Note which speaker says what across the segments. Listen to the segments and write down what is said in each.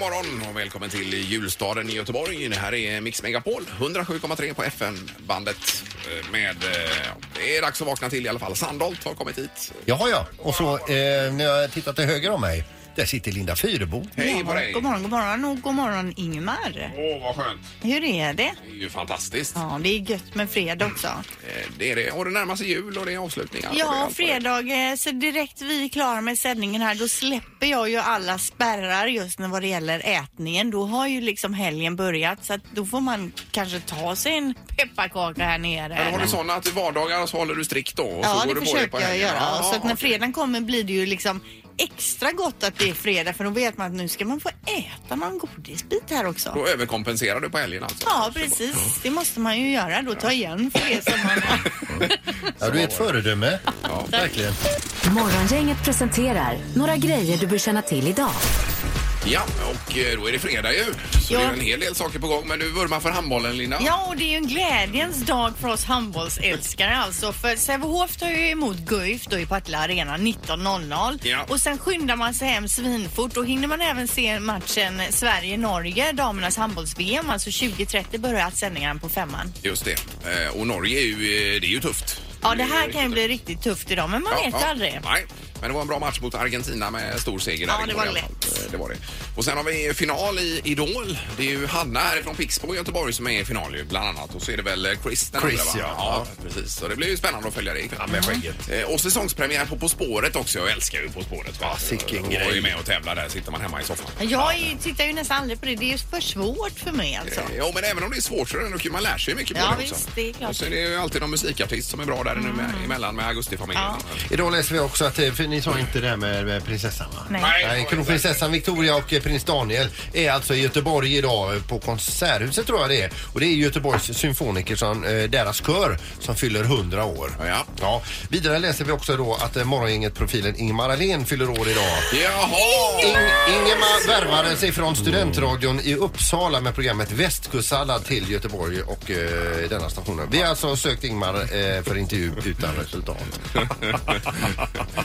Speaker 1: morgon och välkommen till julstaden i Göteborg. Det här är Mix Megapol, 107,3 på FN-bandet. eh, Med, eh, det är dags att vakna till i alla fall. Sandholt har kommit hit.
Speaker 2: Jaha ja, och så eh, när jag tittar till höger om mig, där sitter Linda Fyrebo.
Speaker 1: Hej på dig!
Speaker 3: God morgon, god morgon och god morgon Ingmar.
Speaker 1: Åh, vad skönt!
Speaker 3: Hur är det?
Speaker 1: Det är ju fantastiskt.
Speaker 3: Ja, det är gött med fredag också.
Speaker 1: Eh, Det är det. Och det närmar sig jul och det är avslutningar. och det är
Speaker 3: Ja,
Speaker 1: allt vad det är.
Speaker 3: fredag. eh, Så direkt vi är klara med sändningen här, då släpper jag ju alla spärrar just när vad det gäller ätningen. Då har ju liksom helgen börjat så att då får man kanske ta sig en pepparkaka här
Speaker 1: Men har du
Speaker 3: nere.
Speaker 1: sådana att i vardagar så håller du strikt då? Och
Speaker 3: Ja,
Speaker 1: så går
Speaker 3: det
Speaker 1: du på
Speaker 3: försöker
Speaker 1: på
Speaker 3: jag
Speaker 1: helgen?
Speaker 3: göra.
Speaker 1: Ja,
Speaker 3: så att när
Speaker 1: okej.
Speaker 3: fredagen kommer blir det ju liksom extra gott att det är fredag för då vet man att nu ska man få äta någon godisbit här också.
Speaker 1: Då överkompenserar du på helgen alltså?
Speaker 3: Ja, precis. Det måste man ju göra då. Ta igen för det som man...
Speaker 2: Ja, du är ett föredöme. Verkligen.
Speaker 4: Morgongänget presenterar några grejer du bör känna till idag.
Speaker 1: Ja, och eh, då är det fredag ju. Så
Speaker 3: Ja.
Speaker 1: det är en hel del saker på gång. Men du vurmar för handbollen Linda.
Speaker 3: Ja, och det är ju en glädjens dag för oss handbollsälskare alltså. För Sävehof tar ju emot Guif då i Partille Arena 19.00.
Speaker 1: Ja.
Speaker 3: Och sen skyndar man sig hem svinfort. och hinner man även se matchen Sverige-Norge, damernas handbolls-VM. Alltså 20.30 börjar sändningarna på femman.
Speaker 1: Just det. Eh, Och Norge är ju, eh, det är ju tufft.
Speaker 3: Ja, det här
Speaker 1: är
Speaker 3: kan ju bli riktigt tufft idag, men man
Speaker 1: Ja,
Speaker 3: vet
Speaker 1: ja.
Speaker 3: aldrig.
Speaker 1: Nej, men det var en bra match mot Argentina med stor seger där
Speaker 3: Ja, det
Speaker 1: igår
Speaker 3: var
Speaker 1: i alla fall.
Speaker 3: lätt.
Speaker 1: Eh, Det var det. Och sen har vi final i Idol. Det är ju Hanna härifrån Pixbo i Göteborg som är i final ju, bland annat. Och så är det väl eh, Chris den
Speaker 2: Chris,
Speaker 1: andra, va?
Speaker 2: ja.
Speaker 1: ja. precis. Så det blir ju spännande att följa det ikväll.
Speaker 2: med skägget.
Speaker 1: Eh, Och säsongspremiär på På spåret också. Jag älskar ju På spåret. Ja, Jag
Speaker 2: sicken
Speaker 1: är ju
Speaker 2: Ah, grej.
Speaker 1: med och tävlar där. Sitter man hemma i soffan.
Speaker 3: Jag är- tittar ju nästan aldrig på det. Det är ju för svårt för mig alltså.
Speaker 1: Eh, Ja, men även om det är svårt så är det ändå kul. Man lär sig mycket på
Speaker 3: Ja,
Speaker 1: det också.
Speaker 3: visst, det är klart.
Speaker 1: Och så är det ju alltid någon musikartist som är bra där mm. emellan med Augustifamiljen.
Speaker 2: Idag läser vi också att, eh, för ni sa inte det här med med prinsessan va?
Speaker 3: Nej.
Speaker 2: Nej, kronprinsessan Victoria och eh, prins Daniel är alltså i Göteborg idag eh, på Konserthuset tror jag det är. Och det är Göteborgs symfoniker, som, eh, deras kör, som fyller 100 år.
Speaker 1: Ja.
Speaker 2: Ja. Vidare läser vi också då att eh, morgongänget-profilen Ingemar Ahlén fyller år idag.
Speaker 1: Jaha!
Speaker 2: In Ingemar värvade sig från studentradion i Uppsala med programmet Västkustsallad till Göteborg och eh, denna stationen. Vi har alltså sökt Ingmar eh, för intervju utan resultat.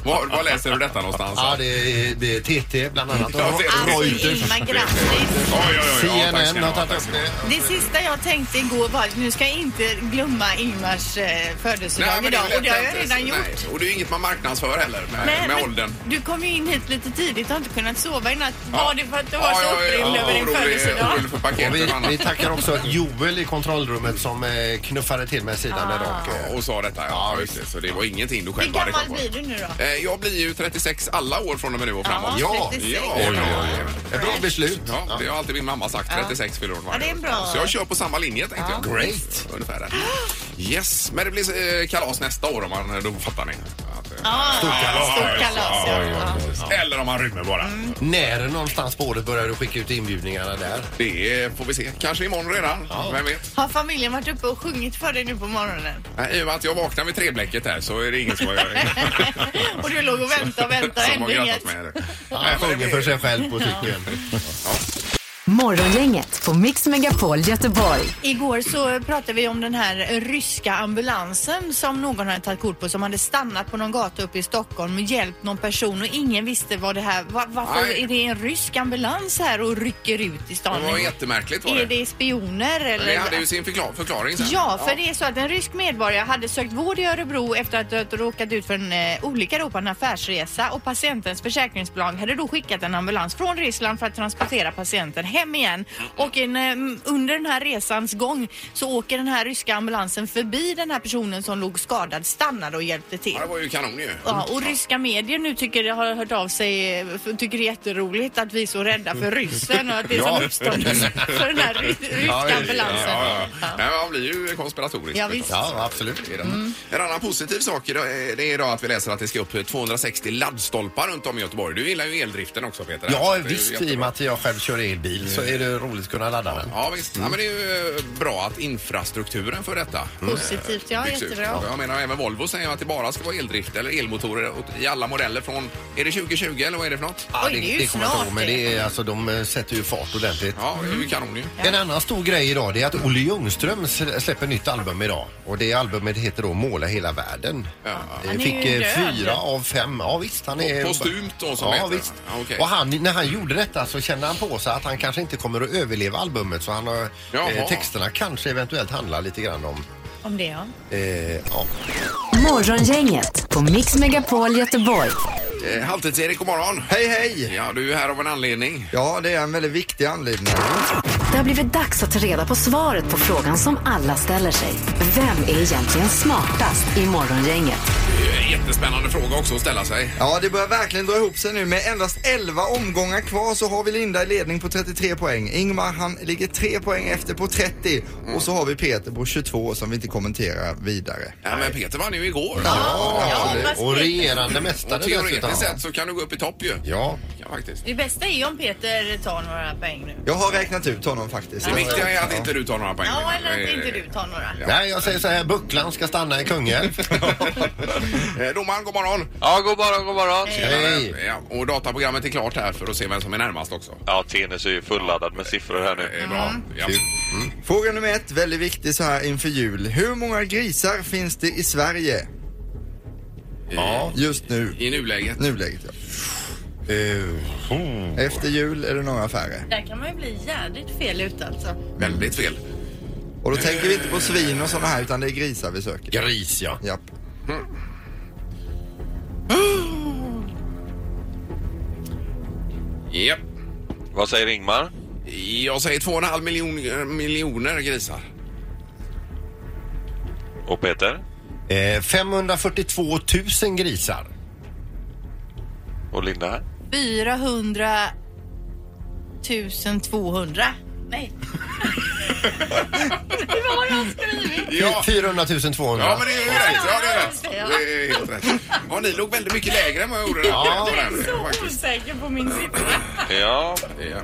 Speaker 1: var, var läser du detta någonstans?
Speaker 2: Ja, det är, det är TT bland annat.
Speaker 1: Ja, det är det.
Speaker 3: Alltså
Speaker 2: Reuters.
Speaker 3: Ingmar, grattis!
Speaker 1: Oj, oj, oj, ja, tack ska
Speaker 2: CNN
Speaker 1: ni
Speaker 2: har
Speaker 1: ha,
Speaker 2: tagit
Speaker 1: tack
Speaker 2: upp
Speaker 1: ska ni ha.
Speaker 2: det.
Speaker 3: Det sista jag tänkte igår var att nu ska jag inte glömma Ingmars eh, födelsedag
Speaker 1: men
Speaker 3: idag
Speaker 1: lätt
Speaker 3: och det har jag
Speaker 1: inte.
Speaker 3: redan
Speaker 1: Nej,
Speaker 3: gjort.
Speaker 1: Och det är ju inget man marknadsför heller med,
Speaker 3: Nej,
Speaker 1: med
Speaker 3: men
Speaker 1: åldern.
Speaker 3: Du kom ju in hit lite tidigt och har inte kunnat sova i natt.
Speaker 1: Ja.
Speaker 3: Var det för att du var så upprymd över din
Speaker 1: orolig-
Speaker 3: födelsedag?
Speaker 1: orolig för
Speaker 2: Och vi,
Speaker 1: paketet och
Speaker 2: vi
Speaker 1: annat.
Speaker 2: tackar också Joel i kontrollrummet som eh, knuffade till med sidan där bak.
Speaker 1: Ja, Och sa detta, ja. just det. Så det var ingenting du
Speaker 3: Hur
Speaker 1: själv hade
Speaker 3: gammal
Speaker 1: koll på.
Speaker 3: blir du nu då?
Speaker 1: Eh, Jag blir ju 36 alla år från och med nu och framåt.
Speaker 2: Ja,
Speaker 3: 36.
Speaker 1: ja,
Speaker 2: Oj, oj,
Speaker 1: ja,
Speaker 2: oj. Ett Eh, bra beslut.
Speaker 1: Ja, det har alltid min mamma sagt. 36 fyller hon varje
Speaker 3: Ja, det är
Speaker 1: år.
Speaker 3: bra.
Speaker 1: Så jag kör på samma linje tänkte jag.
Speaker 2: Great.
Speaker 1: Ungefär där. Yes, men det blir eh, kalas nästa år om man, då fattar ni. Att, eh,
Speaker 3: Ja, stort
Speaker 1: kalas.
Speaker 3: Stort kalas ja. Ja.
Speaker 1: Eller om man rymmer bara.
Speaker 3: Mm.
Speaker 2: När någonstans på året börjar du skicka ut inbjudningarna där?
Speaker 1: Det eh, får vi se. Kanske imorgon redan. Vem vet?
Speaker 3: Har familjen varit uppe och sjungit för dig nu på morgonen?
Speaker 1: Nej, I och med att jag vaknar vid treblecket här så är det ingen som har
Speaker 3: och du låg och väntade och väntade
Speaker 1: som har
Speaker 3: ändå
Speaker 1: grattat
Speaker 3: inget.
Speaker 1: mig. här.
Speaker 2: Han
Speaker 1: Nej, men det
Speaker 2: sjunger för
Speaker 1: blir-
Speaker 2: sig själv på cykeln.
Speaker 4: Morgongänget på Mix Megapol Göteborg.
Speaker 3: Igår så pratade vi om den här ryska ambulansen som någon hade tagit kort på som hade stannat på någon gata uppe i Stockholm och hjälpt någon person och ingen visste vad det här var. Varför
Speaker 1: Nej.
Speaker 3: är det en rysk ambulans här och rycker ut i
Speaker 1: Det
Speaker 3: stan?
Speaker 1: var jättemärkligt var det.
Speaker 3: är det spioner
Speaker 1: Men
Speaker 3: eller?
Speaker 1: det hade ju sin förkla- förklaring sen.
Speaker 3: Ja, för det är så att en rysk medborgare hade sökt vård i Örebro efter att ha råkat ut för en eh, olycka då på en affärsresa och patientens försäkringsbolag hade då skickat en ambulans från Ryssland för att transportera patienten hem igen. Och en, eh, under den här resans gång så åker den här ryska ambulansen förbi den här personen som låg skadad, stannade och hjälpte till.
Speaker 1: Ja, det var ju kanon ju.
Speaker 3: Ja, och ryska medier nu tycker, har hört av sig, eh, för- tycker det är jätteroligt att vi är så rädda för ryssen och att det är
Speaker 2: Ja.
Speaker 3: som uppståndelse för den här ry-
Speaker 2: Ja, ja,
Speaker 3: ryska ambulansen.
Speaker 1: Ja, ja. Nej, man blir ju konspiratorisk.
Speaker 3: Ja, visst. Mm.
Speaker 2: Ja, absolut.
Speaker 1: I den. En annan positiv sak idag är- det är idag att vi läser att det ska upp 260 laddstolpar runt om i Göteborg. Du gillar ju eldriften också Peter.
Speaker 2: Ja,
Speaker 1: Så det är ju
Speaker 2: visst.
Speaker 1: jättebra.
Speaker 2: I och med att jag själv kör elbil så är det roligt att kunna ladda den.
Speaker 1: Ja visst, ja, men det är ju eh, bra att infrastrukturen för detta mm,
Speaker 3: Positivt, ja
Speaker 1: byggs ut.
Speaker 3: jättebra.
Speaker 1: Jag menar även Volvo säger att det bara ska vara eldrift eller elmotorer och- i alla modeller från, är det 2020 eller vad är det för något?
Speaker 3: Oj, det är ju
Speaker 2: kommer jag inte ihåg,
Speaker 3: snart
Speaker 2: men
Speaker 3: det.
Speaker 2: det är, alltså, de eh, sätter ju fart ordentligt.
Speaker 1: Ja, det är
Speaker 3: Mm.
Speaker 1: ju kanon ju.
Speaker 2: En annan stor grej idag det är att Olle Ljungström sl- släpper nytt album idag. Och det albumet heter då Måla hela världen.
Speaker 1: Ja.
Speaker 2: Det
Speaker 3: Han är
Speaker 2: fick
Speaker 3: ju
Speaker 2: eh,
Speaker 3: död.
Speaker 2: fyra av fem. Ja visst, han är...
Speaker 1: Postumt då, som
Speaker 2: ja,
Speaker 1: heter.
Speaker 2: Visst.
Speaker 1: Ja, okej.
Speaker 2: Och han, när han gjorde detta så kände han på sig att han kanske inte kommer att överleva albumet så han har,
Speaker 1: Jaha.
Speaker 2: eh, texterna kanske eventuellt handlar lite grann om...
Speaker 3: Om det ja.
Speaker 2: Eh, ja.
Speaker 4: Morgongänget på Mix Megapol Göteborg.
Speaker 1: Eh, Halvtids-Erik, god morgon.
Speaker 5: Hej, hej!
Speaker 1: Ja, du är här av en anledning.
Speaker 5: Ja, det är en väldigt viktig anledning.
Speaker 4: Det har blivit dags att ta reda på svaret på frågan som alla ställer sig. Vem är egentligen smartast i morgongänget?
Speaker 1: Eh, Jättespännande fråga också att ställa sig.
Speaker 5: Ja, det börjar verkligen dra ihop sig nu. Med endast 11 omgångar kvar så har vi Linda i ledning på 33 poäng. Ingmar, han ligger 3 poäng efter på 30.
Speaker 1: Mm.
Speaker 5: Och så har vi Peter på 22 som vi inte kommenterar vidare.
Speaker 1: Ja, men Peter vann ju igår.
Speaker 3: Ja,
Speaker 2: det-
Speaker 3: vad
Speaker 2: och
Speaker 3: spännande.
Speaker 2: regerande
Speaker 1: Och
Speaker 2: mästare dessutom.
Speaker 1: teoretiskt sett så kan du gå upp i topp ju.
Speaker 2: Ja.
Speaker 1: Ja, faktiskt.
Speaker 3: Det bästa är ju om Peter tar några poäng nu.
Speaker 5: Jag har räknat ut honom faktiskt.
Speaker 1: Det viktiga är att
Speaker 5: Ja.
Speaker 1: inte du tar några poäng.
Speaker 3: Ja, eller att
Speaker 1: Eh,
Speaker 3: inte du tar några.
Speaker 2: Nej, jag säger så här, bucklan ska stanna i Kungälv.
Speaker 1: eh, Domaren, god morgon.
Speaker 6: Ja, god morgon, god morgon.
Speaker 2: Hej!
Speaker 1: Ja, och dataprogrammet är klart här för att se vem som är närmast också.
Speaker 6: Ja, Tenus är ju fulladdad med siffror här nu.
Speaker 1: Det är bra. Ja.
Speaker 5: Fråga nummer ett, väldigt viktig så här inför jul. Hur många grisar finns det i Sverige
Speaker 1: Ja.
Speaker 5: just nu?
Speaker 1: Eh, I nuläget.
Speaker 5: Nuläget ja.
Speaker 1: Eh, oh.
Speaker 5: Efter jul är det några färre.
Speaker 3: Där kan man ju bli jädrigt fel ute alltså.
Speaker 1: Väldigt fel.
Speaker 5: Och då tänker vi inte på svin och sådana här utan det är grisar vi söker.
Speaker 2: Gris, ja.
Speaker 5: Japp.
Speaker 1: Japp.
Speaker 6: Vad säger Ingmar?
Speaker 1: Jag säger två och en halv miljon, eh, miljoner grisar.
Speaker 6: Och Peter?
Speaker 2: Eh, 542 000 grisar.
Speaker 6: Och Linda här?
Speaker 3: 400 200. Nej. Vad har jag skrivit?
Speaker 1: Ja.
Speaker 2: 400 200.
Speaker 1: Ja, men det är ju rätt. Ja, det är rätt. Det är helt rätt. Ja, ni låg väldigt mycket lägre än vad jag gjorde.
Speaker 2: Ja.
Speaker 1: Jag är
Speaker 3: Så osäker på min siffra.
Speaker 6: Ja,
Speaker 1: Ja.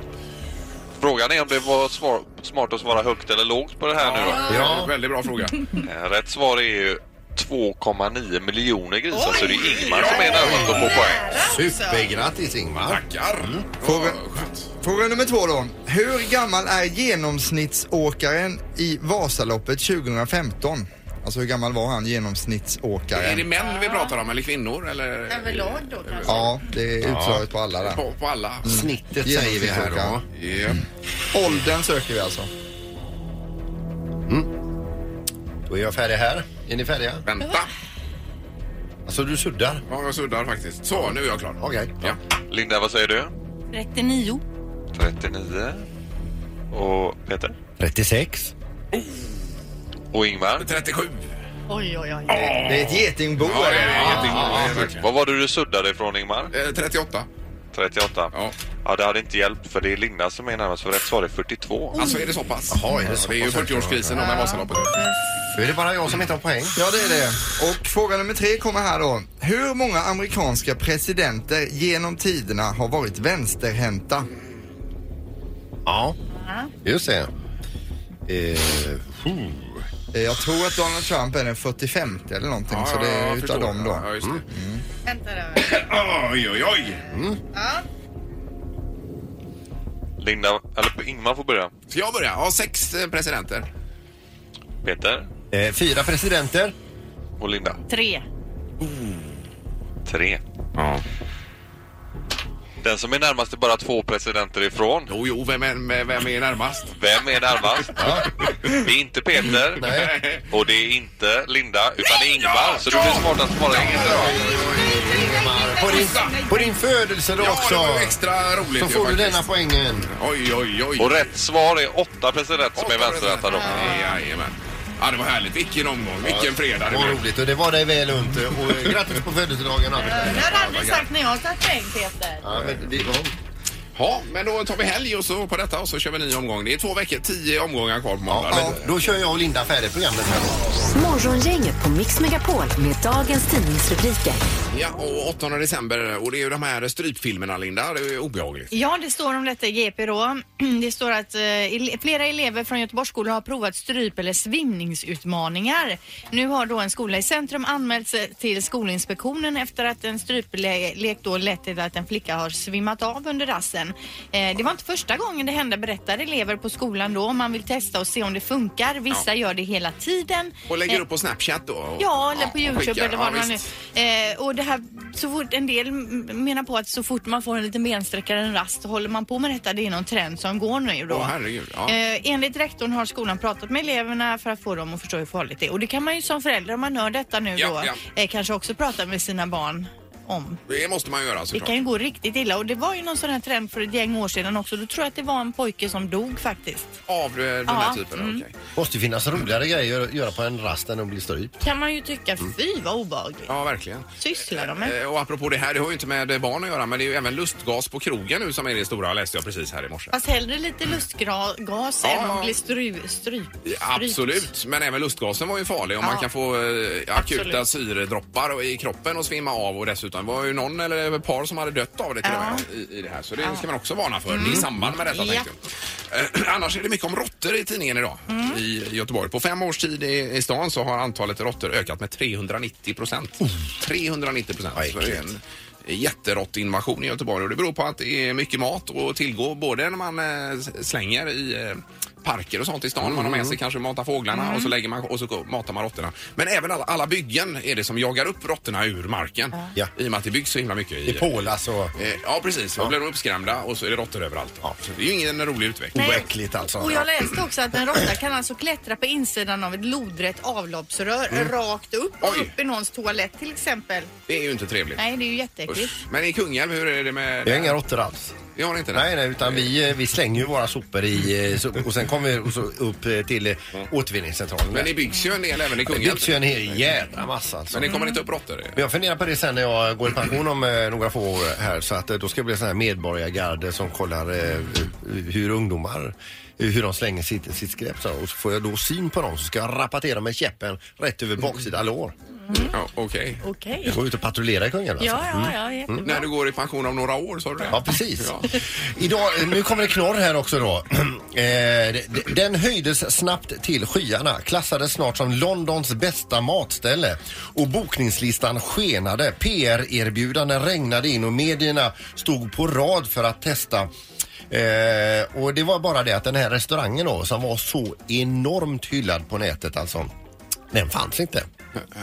Speaker 6: frågan är om det var svar, smart att svara högt eller lågt på det här nu då.
Speaker 1: Ja. Väldigt bra fråga.
Speaker 6: Eh, Rätt svar är ju 2,9 miljoner grisar, så det är Ingmar som är närmast att få poäng.
Speaker 2: Supergrattis Ingmar.
Speaker 1: Tackar.
Speaker 5: Fråga-
Speaker 1: Ja, skönt.
Speaker 5: Fråga nummer två då. Hur gammal är genomsnittsåkaren i Vasaloppet 2015? Alltså hur gammal var han
Speaker 1: Är det
Speaker 5: genomsnittsåkaren?
Speaker 1: män vi pratar om eller kvinnor? Eller?
Speaker 3: Överlag då kanske.
Speaker 5: Ja, det är utslaget på alla där.
Speaker 1: På, på alla?
Speaker 2: Mm. Snittet säger vi här då. Mm.
Speaker 5: Genomsnittsåkaren.
Speaker 1: Ja.
Speaker 5: Åldern söker vi alltså.
Speaker 2: Då är jag färdig här. Är ni färdiga?
Speaker 1: Vänta.
Speaker 2: Alltså du suddar.
Speaker 1: Ja, jag suddar faktiskt. Så, nu är jag klar.
Speaker 2: Okej.
Speaker 1: Ja.
Speaker 6: Linda, vad säger du?
Speaker 3: 39.
Speaker 6: 39. Och Peter?
Speaker 2: 36.
Speaker 6: Och Ingmar?
Speaker 1: 37.
Speaker 3: Oj, oj, oj.
Speaker 5: Det är ett getingbo.
Speaker 1: Ja, det
Speaker 5: är det.
Speaker 1: är jätteimponerande.
Speaker 6: Vad var det du suddade ifrån Ingmar?
Speaker 1: Eh, 38.
Speaker 6: 38?
Speaker 1: Ja.
Speaker 6: Ja, det hade inte hjälpt för det är Linda som är närmast för rätt svar är 42.
Speaker 1: Alltså, är det så pass?
Speaker 2: Jaha, är det
Speaker 1: Ja,
Speaker 2: så
Speaker 1: det är ju
Speaker 2: pass? Mm,
Speaker 1: 40-årskrisen då med Vasaloppet.
Speaker 2: Då är det bara jag som inte har poäng.
Speaker 5: Ja, det är det. Och fråga nummer tre kommer här då. Hur många amerikanska presidenter genom tiderna har varit vänsterhänta?
Speaker 2: Ja. Just det. Eh, oh. huh.
Speaker 5: Eh, Jag tror att Donald Trump är den 45 eller någonting,
Speaker 1: Ja,
Speaker 5: så det
Speaker 1: ja,
Speaker 5: är
Speaker 1: jag
Speaker 5: utav
Speaker 1: förstår.
Speaker 5: dem då.
Speaker 1: Ja, just det.
Speaker 3: Vänta där.
Speaker 2: Mm.
Speaker 1: Oj, oj, oj.
Speaker 6: Linda, eller Ingmar får börja.
Speaker 1: Ska jag börja? Ja, sex eh, presidenter.
Speaker 6: Peter
Speaker 2: eh, fyra presidenter.
Speaker 6: och Linda.
Speaker 3: Tre.
Speaker 6: Tre. Den som är närmast är bara två presidenter ifrån.
Speaker 1: Jo, jo, vem är, vem vem är närmast?
Speaker 6: Vem är närmast? Det är inte Peter
Speaker 2: Nej.
Speaker 6: och det är inte Linda utan det är Ingmar. Så du blir smartast bara Ingmar.
Speaker 2: Ingmar, På din, på din födelsedag
Speaker 1: Ja, det
Speaker 2: också.
Speaker 1: var ju extra roligt
Speaker 2: Så
Speaker 1: ju
Speaker 2: får du
Speaker 1: faktiskt.
Speaker 2: denna poängen.
Speaker 1: Oj, oj, oj.
Speaker 6: Och rätt svar är åtta presidenter som är vänsterhänta då.
Speaker 1: Jajamän. Ja, det var härligt. Vilken omgång, vilken fredag det
Speaker 2: Vad
Speaker 1: blev.
Speaker 2: roligt och det var dig väl unt. Och eh, grattis på födelsedagen Anders.
Speaker 3: Jag hade aldrig sagt när jag har tagit poäng Peter.
Speaker 2: Ja, men vi,
Speaker 1: Ja, men då tar vi helg och så på detta och så kör vi en ny omgång. Det är två veckor, tio omgångar kvar på måndag.
Speaker 2: ja, men då kör jag och Linda färdigt programmet här.
Speaker 4: Morgongänget på Mix Megapol med dagens tidningsrubriker.
Speaker 1: Ja, och 8 december. Och det är ju de här strypfilmerna, Linda. Det är ju obehagligt.
Speaker 3: Ja, det står om detta i GP då. Det står att eh, ele- flera elever från Göteborgsskolor har provat stryp eller svimningsutmaningar. Nu har då en skola i centrum anmält sig till Skolinspektionen efter att en stryplek då lett till att en flicka har svimmat av under rassen. Eh, det var inte första gången det hände, berättar elever på skolan då. Man vill testa och se om det funkar. Vissa gör det hela tiden.
Speaker 1: Och
Speaker 3: Eh,
Speaker 1: lägger upp på Snapchat då? och-
Speaker 3: Ja, eller på
Speaker 1: och
Speaker 3: Youtube
Speaker 1: skickar.
Speaker 3: eller vad
Speaker 1: Ja,
Speaker 3: det nu
Speaker 1: visst.
Speaker 3: eh, Och det här, så fort en del m- menar på att så fort man får en liten bensträckare än rast så håller man på med detta. Det är någon trend som går nu då.
Speaker 1: Åh, herregud, ja.
Speaker 3: eh, enligt rektorn har skolan pratat med eleverna för att få dem att förstå hur farligt det är. Och det kan man ju som förälder, om man hör detta nu
Speaker 1: Ja,
Speaker 3: då,
Speaker 1: ja.
Speaker 3: Eh, kanske också prata med sina barn om.
Speaker 1: Det måste man göra
Speaker 3: Det
Speaker 1: såklart.
Speaker 3: kan ju gå riktigt illa och det var ju någon sån här trend för ett gäng år sedan också. Då tror jag att det var en pojke som dog faktiskt.
Speaker 1: Av eh, den här
Speaker 3: Ja,
Speaker 1: typen?
Speaker 3: mm.
Speaker 1: Okej.
Speaker 2: Måste ju finnas roligare grejer att göra på en rast än att bli strypt.
Speaker 3: Kan man ju tycka, fy vad obehagligt.
Speaker 1: Ja, verkligen.
Speaker 3: Sysslar de med?
Speaker 1: Eh, Och apropå det här, det har ju inte med barn att göra men det är ju även lustgas på krogen nu som är det stora läste jag precis här i morse.
Speaker 3: Fast hellre lite lustgas
Speaker 1: Ja.
Speaker 3: än att bli stru, stryp.
Speaker 1: Ja, Absolut, men även lustgasen var ju farlig och man
Speaker 3: Ja.
Speaker 1: kan få eh, akuta
Speaker 3: Absolut.
Speaker 1: syredroppar i kroppen och svimma av och dessutom var ju någon eller ett par som hade dött av det till
Speaker 3: Ja. Mm.
Speaker 1: och med i, i det här. Så det ska man också varna för i samband med detta.
Speaker 3: Ja.
Speaker 1: tänkte jag. Eh, Annars är det mycket om råttor i tidningen idag
Speaker 3: Mm.
Speaker 1: i Göteborg. På fem års tid i, i stan så har antalet råttor ökat med 390 procent. 390 procent. Så det är en jätterottinvasion i Göteborg och det beror på att det är mycket mat att tillgå både när man eh, s- slänger i eh, parker och sånt i stan. Man har
Speaker 2: Mm.
Speaker 1: med sig kanske matar fåglarna och så lägger man och så matar man råttorna. Men även alla, alla byggen är det som jagar upp råttorna ur marken.
Speaker 2: Ja.
Speaker 1: I och med att det byggs så himla mycket. I,
Speaker 2: I Polas och...
Speaker 1: Eh, Ja, precis. Då blir de uppskrämda och så är det råttor överallt. Så det är ju ingen rolig utveckling.
Speaker 3: Nej.
Speaker 2: Oäckligt alltså.
Speaker 3: Och jag läste också att en råtta kan alltså klättra på insidan av ett lodrätt avloppsrör rakt upp och
Speaker 1: Mm. Oj.
Speaker 3: upp i någons toalett till exempel.
Speaker 1: Det är ju inte trevligt.
Speaker 3: Nej, det är ju jätteäckligt.
Speaker 1: Usch. Men i Kungälv, hur är det med...
Speaker 2: Vi har inga råttor alls.
Speaker 1: Vi har inte det?
Speaker 2: Nej, nej, utan vi, eh, vi slänger ju våra sopor i, eh, so- och sen kommer vi och så upp eh, till eh, återvinningscentralen.
Speaker 1: Men
Speaker 2: Men
Speaker 1: det byggs ju en del även i
Speaker 2: det
Speaker 1: Kungälv.
Speaker 2: byggs ju en hel jädra massa alltså.
Speaker 1: Men det kommer inte upp råttor?
Speaker 2: Men Jag funderar på det sen när jag går i pension om eh, några få år här så att eh, då ska det bli sån här medborgargarde som kollar eh, hur ungdomar eh, hur de slänger sitt, sitt skräp så, och så får jag då syn på dem så ska jag rapportera med käppen rätt över baksida lår.
Speaker 1: Ja, Okej.
Speaker 3: Okej.
Speaker 2: Jag går ut och patrullerar i Kungälv alltså.
Speaker 3: Ja, ja, ja, jättebra.
Speaker 1: När du går i pension om några år, sa du det?
Speaker 2: Ja, precis.
Speaker 1: Ja.
Speaker 2: Idag, nu kommer det knorr här också då. Eh, d- d- Den höjdes snabbt till skyarna, klassades snart som Londons bästa matställe och bokningslistan skenade. PR-erbjudanden regnade in och medierna stod på rad för att testa Eh, och det var bara det att den här restaurangen då som var så enormt hyllad på nätet alltså, den fanns inte.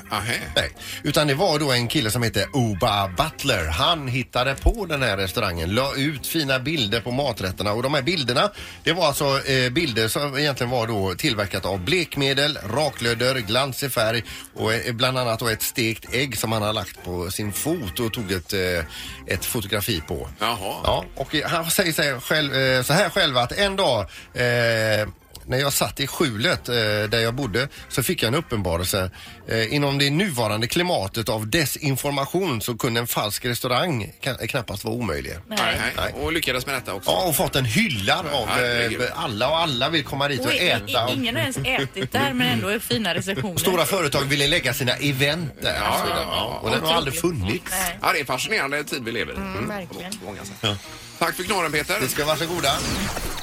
Speaker 1: Ahä.
Speaker 2: Nej, utan det var då en kille som hette Oba Butler. Han hittade på den här restaurangen, la ut fina bilder på maträtterna och de här bilderna, det var alltså eh, bilder som egentligen var då tillverkat av blekmedel, raklödder, glans i färg och eh, bland annat då ett stekt ägg som han har lagt på sin fot och tog ett, eh, ett fotografi på.
Speaker 1: Jaha.
Speaker 2: Ja, och eh, han säger sig själv, eh, så här själv att en dag eh, när jag satt i skjulet eh, där jag bodde så fick jag en uppenbarelse. Eh, inom det nuvarande klimatet av desinformation så kunde en falsk restaurang ka- knappast vara omöjlig.
Speaker 1: Nej.
Speaker 3: Nej.
Speaker 1: nej. Och lyckades med detta också?
Speaker 2: Ja, och fått en hyllad av
Speaker 1: Herregud.
Speaker 2: eh, alla och alla vill komma dit och
Speaker 3: Och i-
Speaker 2: äta.
Speaker 3: i-
Speaker 2: Och
Speaker 3: Ingen har ens ätit där men ändå är fina recensioner.
Speaker 2: stora företag ville lägga sina event där.
Speaker 1: Ja,
Speaker 2: och så vidare.
Speaker 1: ja,
Speaker 2: och
Speaker 3: typ-
Speaker 2: den har aldrig funnits.
Speaker 3: Nej.
Speaker 1: Ja, det är en fascinerande tid vi lever i. Mm,
Speaker 3: verkligen.
Speaker 1: På många sätt. Tack för knorren, Peter.
Speaker 2: Ni ska varsågoda.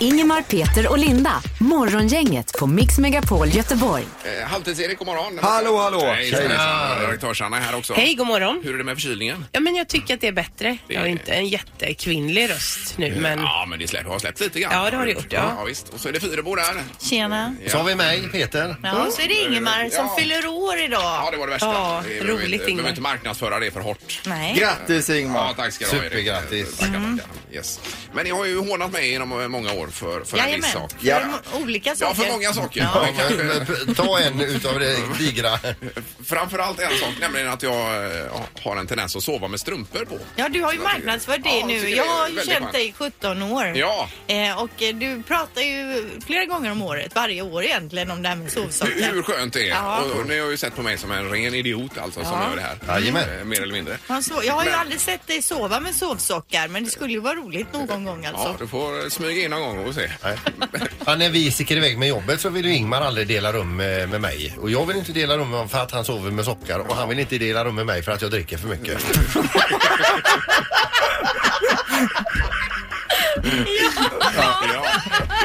Speaker 4: Ingemar, Peter och Linda. Morgongänget på Mix Megapol Göteborg.
Speaker 1: Eh, Halvtids-Erik, god morgon.
Speaker 5: Hallå, hallå.
Speaker 1: Hej, Hejsan. Redaktörs-Anna är här också.
Speaker 7: Hej, god morgon.
Speaker 1: Hur är det med förkylningen?
Speaker 7: Ja, men jag tycker att det är bättre.
Speaker 1: Det-
Speaker 7: Jag har inte en jättekvinnlig röst nu, men
Speaker 1: Ja, men det släpp, har släppt lite grann.
Speaker 7: Ja, det har det gjort, ja.
Speaker 1: ja visst. Och så är det Fyrebo där.
Speaker 3: Tjena.
Speaker 2: Så har vi mig, Peter.
Speaker 3: Ja, så är det Ingemar som
Speaker 1: Mm. Ja.
Speaker 3: fyller år idag.
Speaker 1: Ja, det var det värsta.
Speaker 7: Ja,
Speaker 1: Vi
Speaker 7: roligt,
Speaker 1: behöver inte, vi behöver
Speaker 7: Ingmar.
Speaker 1: inte marknadsföra det för hårt.
Speaker 3: Nej.
Speaker 5: Grattis
Speaker 1: Ja,
Speaker 5: Ingmar.
Speaker 1: tack ska du ha Erik.
Speaker 2: Supergrattis.
Speaker 1: Tackar,
Speaker 7: Mm.
Speaker 1: tackar. Yes. Men ni har ju hånat mig genom eh, många år för, för en viss sak.
Speaker 5: Ja.
Speaker 3: För mo- Olika saker.
Speaker 1: Ja, för många saker.
Speaker 2: Ja,
Speaker 1: Men kanske-
Speaker 2: men, men, p- ta en utav det digra.
Speaker 1: Framförallt en sak, nämligen att jag eh, har en tendens att sova med strumpor på.
Speaker 3: Ja, du har ju marknadsfört det
Speaker 1: Ja,
Speaker 3: nu.
Speaker 1: jag tycker
Speaker 3: Jag
Speaker 1: det är
Speaker 3: har ju
Speaker 1: väldigt
Speaker 3: känt dig i 17 år.
Speaker 1: Ja.
Speaker 3: Eh, och eh, du pratar ju flera gånger om året, varje år egentligen, om det här med sovsaker.
Speaker 1: Hur skönt det är.
Speaker 3: Ja.
Speaker 1: Och, och ni har ju sett på mig som en ren idiot alltså som
Speaker 3: Ja.
Speaker 1: gör det här.
Speaker 2: Jajamän.
Speaker 1: Eh, Mer eller mindre.
Speaker 3: Han sov- Jag har ju
Speaker 1: Men-
Speaker 3: aldrig sett dig sova med sovsockar men det skulle ju vara roligt någon gång
Speaker 1: Ja,
Speaker 3: alltså.
Speaker 1: du får eh, smyga in någon gång och se.
Speaker 2: Han är vis i sticker iväg med jobbet så vill ju Ingmar aldrig dela rum med, med mig. Och jag vill inte dela rum med honom för att han sover med sockar och han vill inte dela rum med mig för att jag dricker för mycket.
Speaker 1: Ja,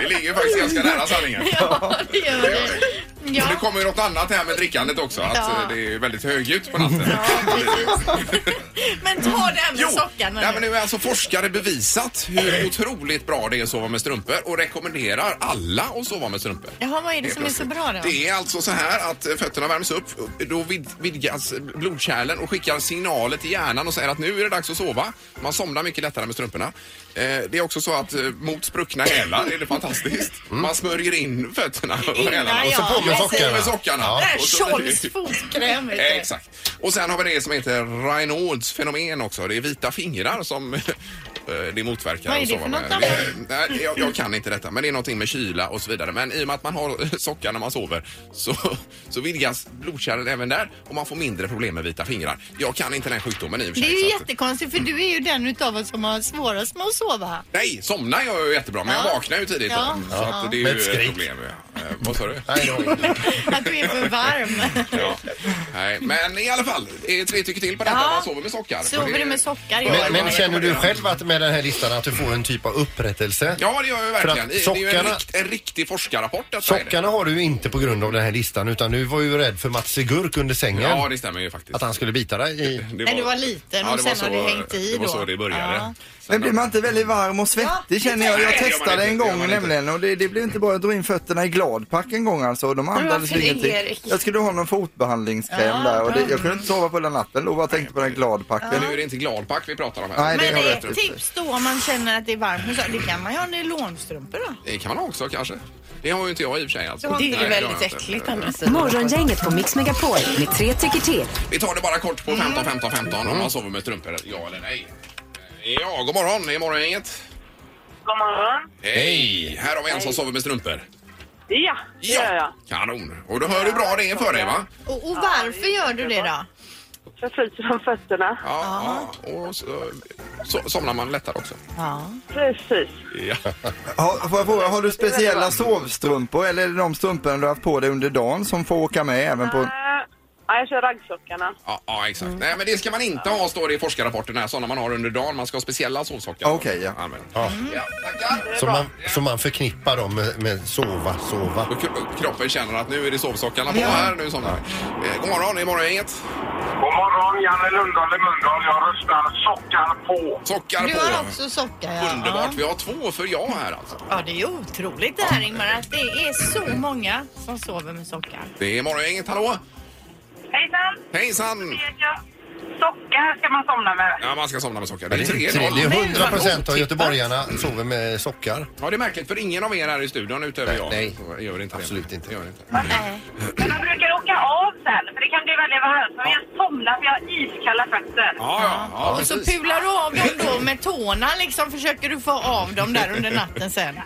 Speaker 1: det ligger faktiskt ganska nära sanningen.
Speaker 3: Ja, det gör det. Ja,
Speaker 1: Men det kommer ju något annat här med drickandet också. Att
Speaker 3: Ja.
Speaker 1: eh, det är väldigt högljutt på natten.
Speaker 3: men ta det här med sockarna
Speaker 1: nej,
Speaker 3: nu.
Speaker 1: men nu är alltså forskare bevisat hur otroligt bra det är att sova med strumpor och rekommenderar alla att sova med strumpor.
Speaker 3: Jaha, vad är det
Speaker 1: Helt
Speaker 3: som är så
Speaker 1: plötsligt.
Speaker 3: bra då?
Speaker 1: Det är alltså så här att eh, fötterna värms upp, då vid, vidgas blodkärlen och skickar signaler till hjärnan och säger att nu är det dags att sova. Man somnar mycket lättare med strumporna. Eh, det är också så att eh, mot spruckna hälar är det fantastiskt. Man smörjer in fötterna och
Speaker 3: Mm. Innan,
Speaker 1: hälarna och så
Speaker 3: ja,
Speaker 2: på med
Speaker 3: precis.
Speaker 2: sockarna.
Speaker 1: på med sockarna.
Speaker 2: Ja.
Speaker 3: Det här är
Speaker 1: Och så-
Speaker 3: Scholls fotkräm. vet du.
Speaker 1: Eh, Exakt. Och sen har vi det som heter Reinolds fenomen också. Det är vita fingrar som eh, det motverkar.
Speaker 3: Vad är
Speaker 1: att
Speaker 3: det
Speaker 1: sova
Speaker 3: för
Speaker 1: med.
Speaker 3: något,
Speaker 1: Det- nej, jag, jag kan inte detta, men det är någonting med kyla och så vidare. Men i och med att man har sockar när man sover så, så vidgas blodkärlen även där och man får mindre problem med vita fingrar. Jag kan inte den sjukdomen i och för
Speaker 3: Det
Speaker 1: sig.
Speaker 3: är ju
Speaker 1: så att-
Speaker 3: jättekonstigt för du är ju den utav oss som har svårast med att sova.
Speaker 1: Nej, somnar jag ju jättebra, men
Speaker 3: Ja.
Speaker 1: jag vaknar ju tidigt.
Speaker 3: Ja.
Speaker 1: då. Så att det är
Speaker 2: Med
Speaker 1: ju
Speaker 2: ett
Speaker 1: ett
Speaker 2: skrik.
Speaker 1: problem. ja. Eh, vad sa du?
Speaker 2: Nej, då.
Speaker 3: Att du är för varm.
Speaker 1: Ja. Nej, men i alla fall, det är tre tycker till på detta.
Speaker 3: Ja.
Speaker 1: Man sover med sockar.
Speaker 3: Sover du med sockar? Ja,
Speaker 2: Men,
Speaker 3: ja,
Speaker 2: men
Speaker 3: ja.
Speaker 2: känner du själv att med den här listan att du får en typ av upprättelse?
Speaker 1: Ja, det gör jag ju verkligen.
Speaker 2: För att
Speaker 1: Det är ju en,
Speaker 2: sockarna-
Speaker 1: rikt, en riktig forskarrapport detta är
Speaker 2: Sockarna har du ju inte på grund av den här listan utan du var ju rädd för Mats Gurk under
Speaker 1: det.
Speaker 2: sängen.
Speaker 1: Ja, det stämmer ju faktiskt.
Speaker 2: Att han skulle bita dig i...
Speaker 1: Det
Speaker 3: Men du var liten och
Speaker 1: det
Speaker 3: sen
Speaker 1: var
Speaker 3: har det hängt i
Speaker 1: Det var
Speaker 3: då.
Speaker 1: så det började.
Speaker 3: Ja.
Speaker 5: Men blir man inte väldigt varm och svettig känner jag.
Speaker 1: Nej,
Speaker 5: Jag
Speaker 1: det gör man
Speaker 5: testade
Speaker 1: inte, det
Speaker 5: en
Speaker 1: gör man
Speaker 5: gång
Speaker 1: inte.
Speaker 5: nämligen och det, det blev inte bra. Jag drog in fötterna i gladpack en gång alltså och de andades
Speaker 7: varför det,
Speaker 5: ingenting.
Speaker 7: Erik?
Speaker 5: Jag skulle ha någon fotbehandlingskräm
Speaker 3: Ja,
Speaker 5: där och det,
Speaker 3: bra.
Speaker 5: jag kunde inte sova på hela natten då. Bara tänkte på den
Speaker 1: Men
Speaker 5: gladpacken.
Speaker 1: nu är det inte gladpack vi pratar om här.
Speaker 5: Nej, det
Speaker 3: Men
Speaker 5: har
Speaker 3: ett
Speaker 5: rätt ut.
Speaker 3: tips då om man känner att det är varmt med sockar, det kan man ju ha nylonstrumpor då.
Speaker 1: Det kan man också kanske. Det har ju inte jag i och för sig. Alltså.
Speaker 7: Det
Speaker 1: Nej,
Speaker 7: är ju
Speaker 1: har jag
Speaker 7: väldigt
Speaker 1: inte.
Speaker 7: äckligt å andra sidan.
Speaker 4: Morgongänget på Mix Megapol med tre tycker till.
Speaker 1: Vi tar det bara kort på 15, 15, 15 om man sover med strumpor. Ja eller nej. Ja, god morgon. Det är morgongänget.
Speaker 8: God morgon.
Speaker 1: Hej! Här har vi en som sover med strumpor.
Speaker 8: Ja, det gör jag.
Speaker 1: Kanon. Och du hör hur bra det är för dig va?
Speaker 3: Och, och varför gör du det då?
Speaker 8: Jag fryser om fötterna.
Speaker 1: Ja. ja. Och så, så somnar man lättare också.
Speaker 3: Ja.
Speaker 8: Precis.
Speaker 1: Ja.
Speaker 5: Har, får jag fråga, har du speciella sovstrumpor eller är det de strumporna du har haft på dig under dagen som får åka med även på...
Speaker 8: Eh, Ja, jag kör raggsockarna.
Speaker 1: Ja, ja exakt. Nej, men det ska man inte ha står det i forskarrapporten här. Sådana man har under dagen. Man ska ha speciella sovsockar.
Speaker 5: Okej, ja.
Speaker 1: Använd.
Speaker 2: Ja.
Speaker 1: Ja, tackar.
Speaker 2: Som man, som man förknippar dem med, med sova, sova.
Speaker 1: Och kro- Kroppen känner att nu är det sovsockarna på här. Nu somnar vi. Eh, God morgon, det är morgongänget.
Speaker 9: God morgon, Janne Lundahl i Mölndal. Jag röstar sockar på.
Speaker 1: Sockar
Speaker 3: Du
Speaker 1: på.
Speaker 3: har också sockar ja.
Speaker 1: Underbart. Vi har två för jag här alltså.
Speaker 3: Ja, det är ju otroligt det här Ingmar att det är så många som sover med sockar.
Speaker 1: Det är morgongänget. Hallå!
Speaker 8: Hejsan!
Speaker 1: Hejsan!
Speaker 8: Sockar ska man somna med.
Speaker 1: Ja, man ska somna med sockar. Det
Speaker 2: Det
Speaker 1: är
Speaker 2: är
Speaker 1: 3
Speaker 2: det är 100 procent av göteborgarna sover med sockar.
Speaker 1: Ja, det är märkligt för ingen av er här i studion utöver
Speaker 2: Nej,
Speaker 1: jag.
Speaker 2: nej.
Speaker 1: Jag Gör inte
Speaker 2: Absolut
Speaker 1: det.
Speaker 2: inte.
Speaker 1: Gör inte.
Speaker 8: Men man brukar åka av sen, för det kan bli väldigt varmt. Men jag somnar för jag har iskalla fötter.
Speaker 1: Ja, ja, ja,
Speaker 3: Och så
Speaker 1: precis.
Speaker 3: pular du av dem då med tårna liksom försöker du få av dem där under natten sen.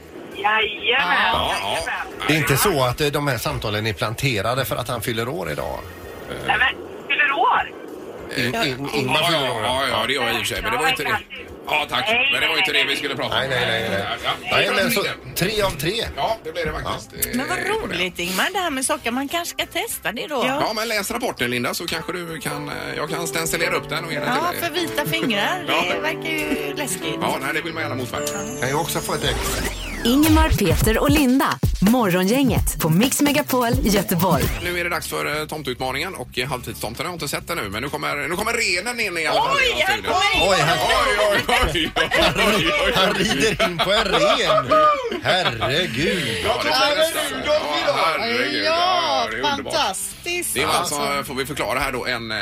Speaker 8: Jajamän!
Speaker 1: Ja, ja.
Speaker 8: jajamän.
Speaker 2: Det är inte så att eh, de här samtalen är planterade för att han fyller år idag.
Speaker 8: Nej, men fyller år?
Speaker 2: In, in, Ingmar
Speaker 1: Eh, Ja,
Speaker 2: fyller år. ja.
Speaker 1: ja, ja, det gör jag i och för sig. Men det var ju inte det. Ja, tack.
Speaker 8: Nej,
Speaker 1: Men det var ju inte
Speaker 8: nej,
Speaker 1: det vi skulle prata om.
Speaker 2: Nej, nej, nej. nej.
Speaker 1: Ja,
Speaker 2: nej
Speaker 1: ja.
Speaker 2: men så, tre av tre.
Speaker 1: Ja, det blev det faktiskt. Eh,
Speaker 3: Men vad
Speaker 1: på det.
Speaker 3: roligt Ingmar det här med sockar. Man kanske ska testa det då.
Speaker 1: Ja, men läs rapporten Linda så kanske du kan, eh, jag kan stencilera upp den och ge den
Speaker 3: Ja,
Speaker 1: till
Speaker 3: för
Speaker 1: dig.
Speaker 3: vita fingrar.
Speaker 1: Ja.
Speaker 3: Det verkar ju läskigt.
Speaker 1: Ja, nej, det vill man gärna motverka.
Speaker 2: Kan jag också få ett ex?
Speaker 4: Ingemar, Peter och Linda. Morgongänget på Mix Megapol Göteborg.
Speaker 1: Nu är det dags för eh, tomtutmaningen och eh, halvtidstomten har jag inte sett ännu men nu kommer, nu kommer renen in i alla fall.
Speaker 3: Oj, här
Speaker 1: studion.
Speaker 3: kommer
Speaker 2: Oj,
Speaker 1: Oj,
Speaker 2: han,
Speaker 1: oj, oj, oj, oj, oj.
Speaker 2: han rider in på en ren. Herregud.
Speaker 1: Ja, det
Speaker 3: Ja,
Speaker 1: blir
Speaker 3: men
Speaker 1: nästan. Ja, herregud. Ja,
Speaker 3: Ja,
Speaker 1: det är underbart.
Speaker 3: fantastiskt.
Speaker 1: Det var alltså, får vi förklara här då, en... Eh,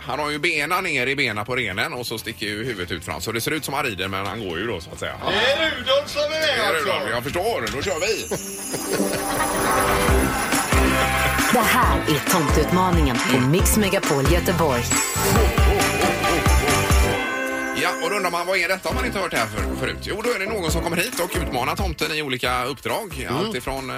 Speaker 1: han har ju bena ner i bena på renen och så sticker ju huvudet ut fram. Så det ser ut som han rider men han går ju då så att säga.
Speaker 2: Det är Rudolf som är
Speaker 1: Ja, det är alltså? bra. Jag förstår, då kör vi!
Speaker 4: Det här är tomteutmaningen på Mix Megapol Göteborg.
Speaker 1: Ja, och då undrar man vad är detta om man inte hört det här för, förut? Jo, då är det någon som kommer hit och utmanar tomten i olika uppdrag.
Speaker 2: Mm.
Speaker 1: Allt ifrån eh,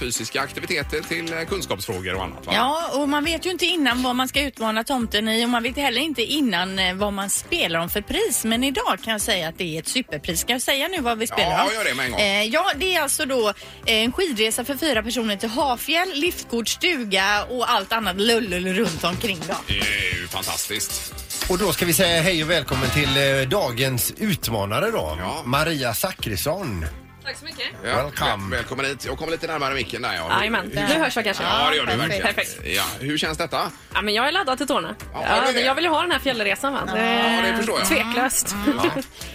Speaker 1: fysiska aktiviteter till eh, kunskapsfrågor och annat. Va?
Speaker 3: Ja, och man vet ju inte innan vad man ska utmana tomten i och man vet heller inte innan eh, vad man spelar om för pris. Men idag kan jag säga att det är ett superpris. Ska jag säga nu vad vi spelar
Speaker 1: Ja,
Speaker 3: om?
Speaker 1: gör det med en gång.
Speaker 3: Eh, ja, det är alltså då eh, en skidresa för fyra personer till Hafjäll, liftkort, stuga och allt annat lullul runt omkring då.
Speaker 1: Det är ju fantastiskt.
Speaker 2: Och då ska vi säga hej och välkommen till eh, dagens utmanare då.
Speaker 1: Ja.
Speaker 2: Maria Zackrisson.
Speaker 10: Tack så mycket.
Speaker 1: Ja,
Speaker 2: Welcome.
Speaker 1: väl- Välkommen hit. Jag kommer lite närmare micken där. Ja.
Speaker 10: Jajamän, nu hörs jag kanske.
Speaker 1: Ja, det gör du verkligen.
Speaker 10: Perfekt.
Speaker 1: Ja, hur känns detta?
Speaker 10: Ja, men jag är laddad till tårna.
Speaker 1: Ja,
Speaker 10: Ja,
Speaker 1: det är-
Speaker 10: jag vill ju ha den här fjällresan. Va?
Speaker 1: Ja, det förstår jag.
Speaker 10: Tveklöst.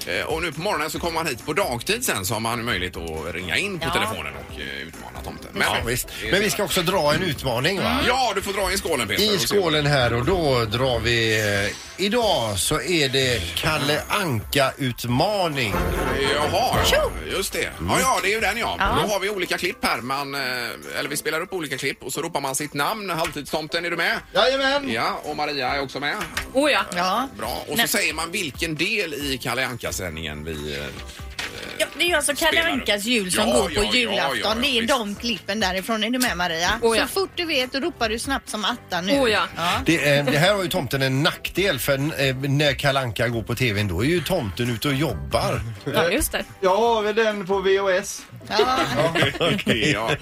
Speaker 1: Eh, Och nu på morgonen så kommer man hit på dagtid sen så har man möjlighet att ringa in på
Speaker 3: Ja.
Speaker 1: telefonen och eh, utmana tomten. Men,
Speaker 2: Ja, visst. Men vi ska också dra en utmaning va?
Speaker 1: Ja, du får dra in skålen Peter.
Speaker 2: I
Speaker 1: och se-
Speaker 2: skålen här och då drar vi... eh, Idag så är det Kalle Anka-utmaning.
Speaker 1: Jaha, ja, just det. Ja, ja, det är ju den ja.
Speaker 3: Ja.
Speaker 1: Då har vi olika klipp här. Man, eh, eller vi spelar upp olika klipp och så ropar man sitt namn. Halvtidstomten, är du med?
Speaker 2: Jajamän!
Speaker 1: Ja, och Maria är också med.
Speaker 10: Oh, ja.
Speaker 3: Ja.
Speaker 1: Bra. Och så
Speaker 3: Nej.
Speaker 1: säger man vilken del i Kalle Anka-sändningen vi... eh,
Speaker 3: Ja, det är ju alltså Kalle
Speaker 1: Spelar du?
Speaker 3: Ankas jul som
Speaker 1: Ja,
Speaker 3: går på
Speaker 1: ja, ja,
Speaker 3: julafton.
Speaker 1: ja, ja,
Speaker 3: det är
Speaker 1: visst.
Speaker 3: de klippen därifrån. Är du med Maria?
Speaker 10: Oh, ja.
Speaker 3: Så fort du vet då ropar du snabbt som attan nu.
Speaker 10: Oh, ja.
Speaker 2: Det, eh, det här har ju tomten en nackdel för eh, när Kalle Anka går på tvn då är ju tomten ute och jobbar.
Speaker 10: ja, just det.
Speaker 5: Jag har den på VHS.
Speaker 3: Ja.
Speaker 1: Ja,